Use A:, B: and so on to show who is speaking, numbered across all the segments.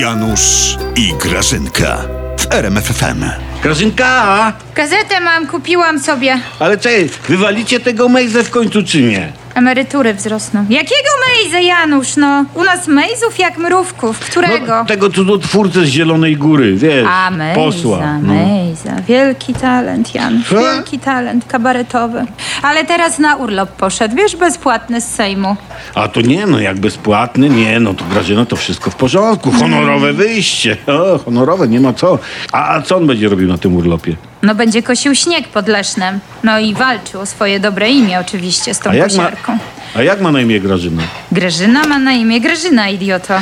A: Janusz i Grażynka w RMFFM.
B: Grażynka!
C: Gazetę mam, kupiłam sobie.
B: Ale czekaj, wywalicie tego Mejzę w końcu czy nie?
C: Emerytury wzrosną. Jakiego Mejza, Janusz, no? U nas Mejzów jak mrówków. Którego?
B: No, tego cudotwórcę z Zielonej Góry, wiesz,
C: A, Mejza,
B: posła. No.
C: Mejza. Wielki talent, Janusz.
B: Co?
C: Wielki talent kabaretowy. Ale teraz na urlop poszedł, wiesz, bezpłatny z Sejmu.
B: A to nie, no jak bezpłatny, nie, no to Grażyna to wszystko w porządku,
C: Mm.
B: honorowe wyjście, o, honorowe, nie ma co. A, a co on będzie robił na tym urlopie?
C: No będzie kosił śnieg pod Lesznem. No i walczył o swoje dobre imię oczywiście z tą
B: A ma,
C: kosiarką.
B: a jak ma na imię Grażyna?
C: Grażyna ma na imię Grażyna, idioto.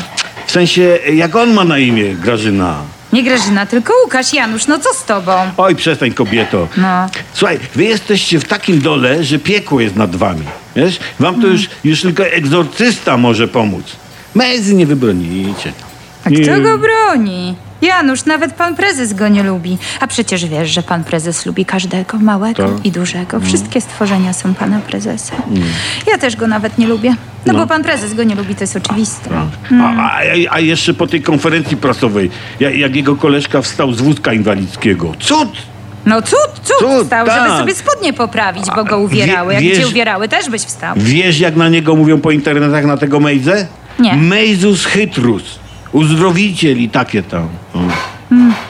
B: W sensie, jak on ma na imię Grażyna?
C: Nie Grażyna, tylko Łukasz, Janusz, no co z tobą?
B: Oj, przestań kobieto.
C: No.
B: Słuchaj, wy jesteście w takim dole, że piekło jest nad wami. Wiesz? Wam to już, już tylko egzorcysta może pomóc. Mezy nie wybronicie.
C: A kto go broni? Janusz, nawet pan prezes go nie lubi. A przecież wiesz, że pan prezes lubi każdego, małego
B: Tak. Mm.
C: i dużego. Wszystkie stworzenia są pana prezesa. Ja też go nawet nie lubię. No, bo pan prezes go nie lubi, to jest oczywiste.
B: A, a, a jeszcze po tej konferencji prasowej, jak, jak jego koleżka wstał z wózka inwalidzkiego. Cud!
C: No cud, cud,
B: Cud,
C: stał, żeby
B: tak.
C: sobie spodnie poprawić, bo go uwierały. Jak
B: wie-
C: cię
B: wiesz- Mm,
C: uwierały, też byś wstał.
B: Wiesz, jak na niego mówią po internetach na tego Mejzę?
C: Nie.
B: Mejzus chytrus. Uzdrowiciel i takie tam. O.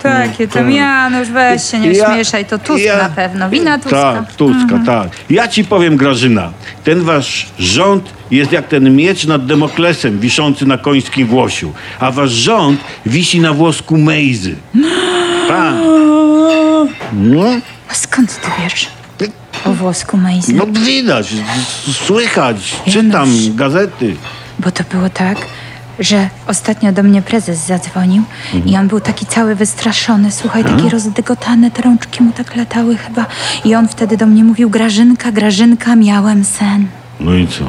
C: Takie tam, Janusz, weź się, nie
B: tak. Ja-
C: śmieszaj, to Tusk
B: ja-
C: na pewno. Wina Tuska. Mhm.
B: Tak, Tuska, tak. Ja ci powiem, Grażyna, ten wasz rząd jest jak ten miecz nad Demoklesem wiszący na końskim włosiu, a wasz rząd wisi na włosku Mejzy. Tak. No,
C: A skąd ty wiesz o włosku Mejzy?
B: no widać, s- słychać, czytam
C: Janusz.
B: gazety.
C: Bo to było tak, że ostatnio do mnie prezes zadzwonił i on był taki cały wystraszony, słuchaj,
B: Mhm.
C: taki rozdygotany, te rączki mu tak latały chyba. I on wtedy do mnie mówił, Grażynka, Grażynka, miałem sen.
B: No i co?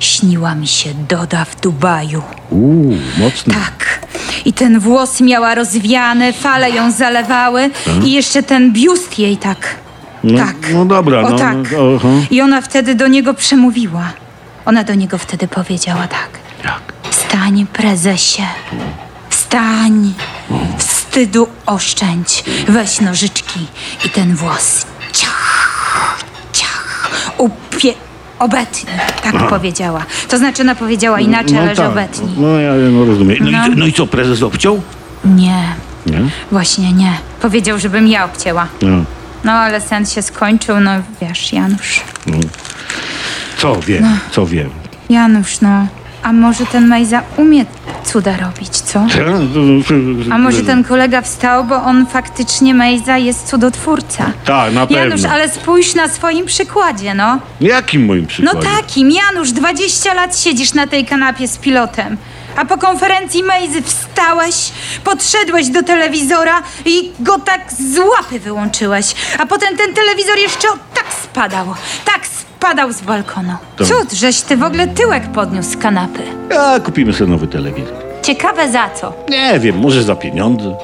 C: Śniła mi się Doda w Dubaju.
B: Uuu, mocny.
C: Tak. I ten włos miała rozwiany, fale ją zalewały i jeszcze ten biust jej tak.
B: Mhm. No-
C: tak.
B: no dobra,
C: o
B: no,
C: tak.
B: no, aha.
C: I ona wtedy do niego przemówiła. Ona do niego wtedy powiedziała tak.
B: Jak?
C: Stań, prezesie. Stań. Wstydu oszczędź. Weź nożyczki i ten włos. Ciach, ciach. Upie... Obetnij, tak powiedziała. To znaczy ona powiedziała inaczej, ale że
B: tak.
C: obetnij.
B: No ja no, rozumiem. No,
C: No.
B: I, no i co, prezes obciął?
C: Nie,
B: Nie?
C: właśnie nie. Powiedział, żebym ja obcięła.
B: No.
C: No ale sen się skończył, no wiesz, Janusz.
B: Co wiem, co wiem.
C: Janusz, no. A może ten Majza umie cuda robić, co? A może ten kolega wstał, bo on faktycznie Mejza jest cudotwórca.
B: Tak, na pewno.
C: Janusz, ale spójrz na swoim przykładzie, no.
B: Jakim moim
C: No
B: przykładzie?
C: takim, Janusz, 20 lat siedzisz na tej kanapie z pilotem. A po konferencji Mejzy wstałeś, podszedłeś do telewizora i go tak z łapy wyłączyłeś. A potem ten telewizor jeszcze o- tak spadał, tak spadał z balkonu.
B: Tak.
C: Cud, żeś ty w ogóle tyłek podniósł z kanapy.
B: A kupimy sobie nowy telewizor.
C: Ciekawe za co.
B: Nie wiem, może za pieniądze.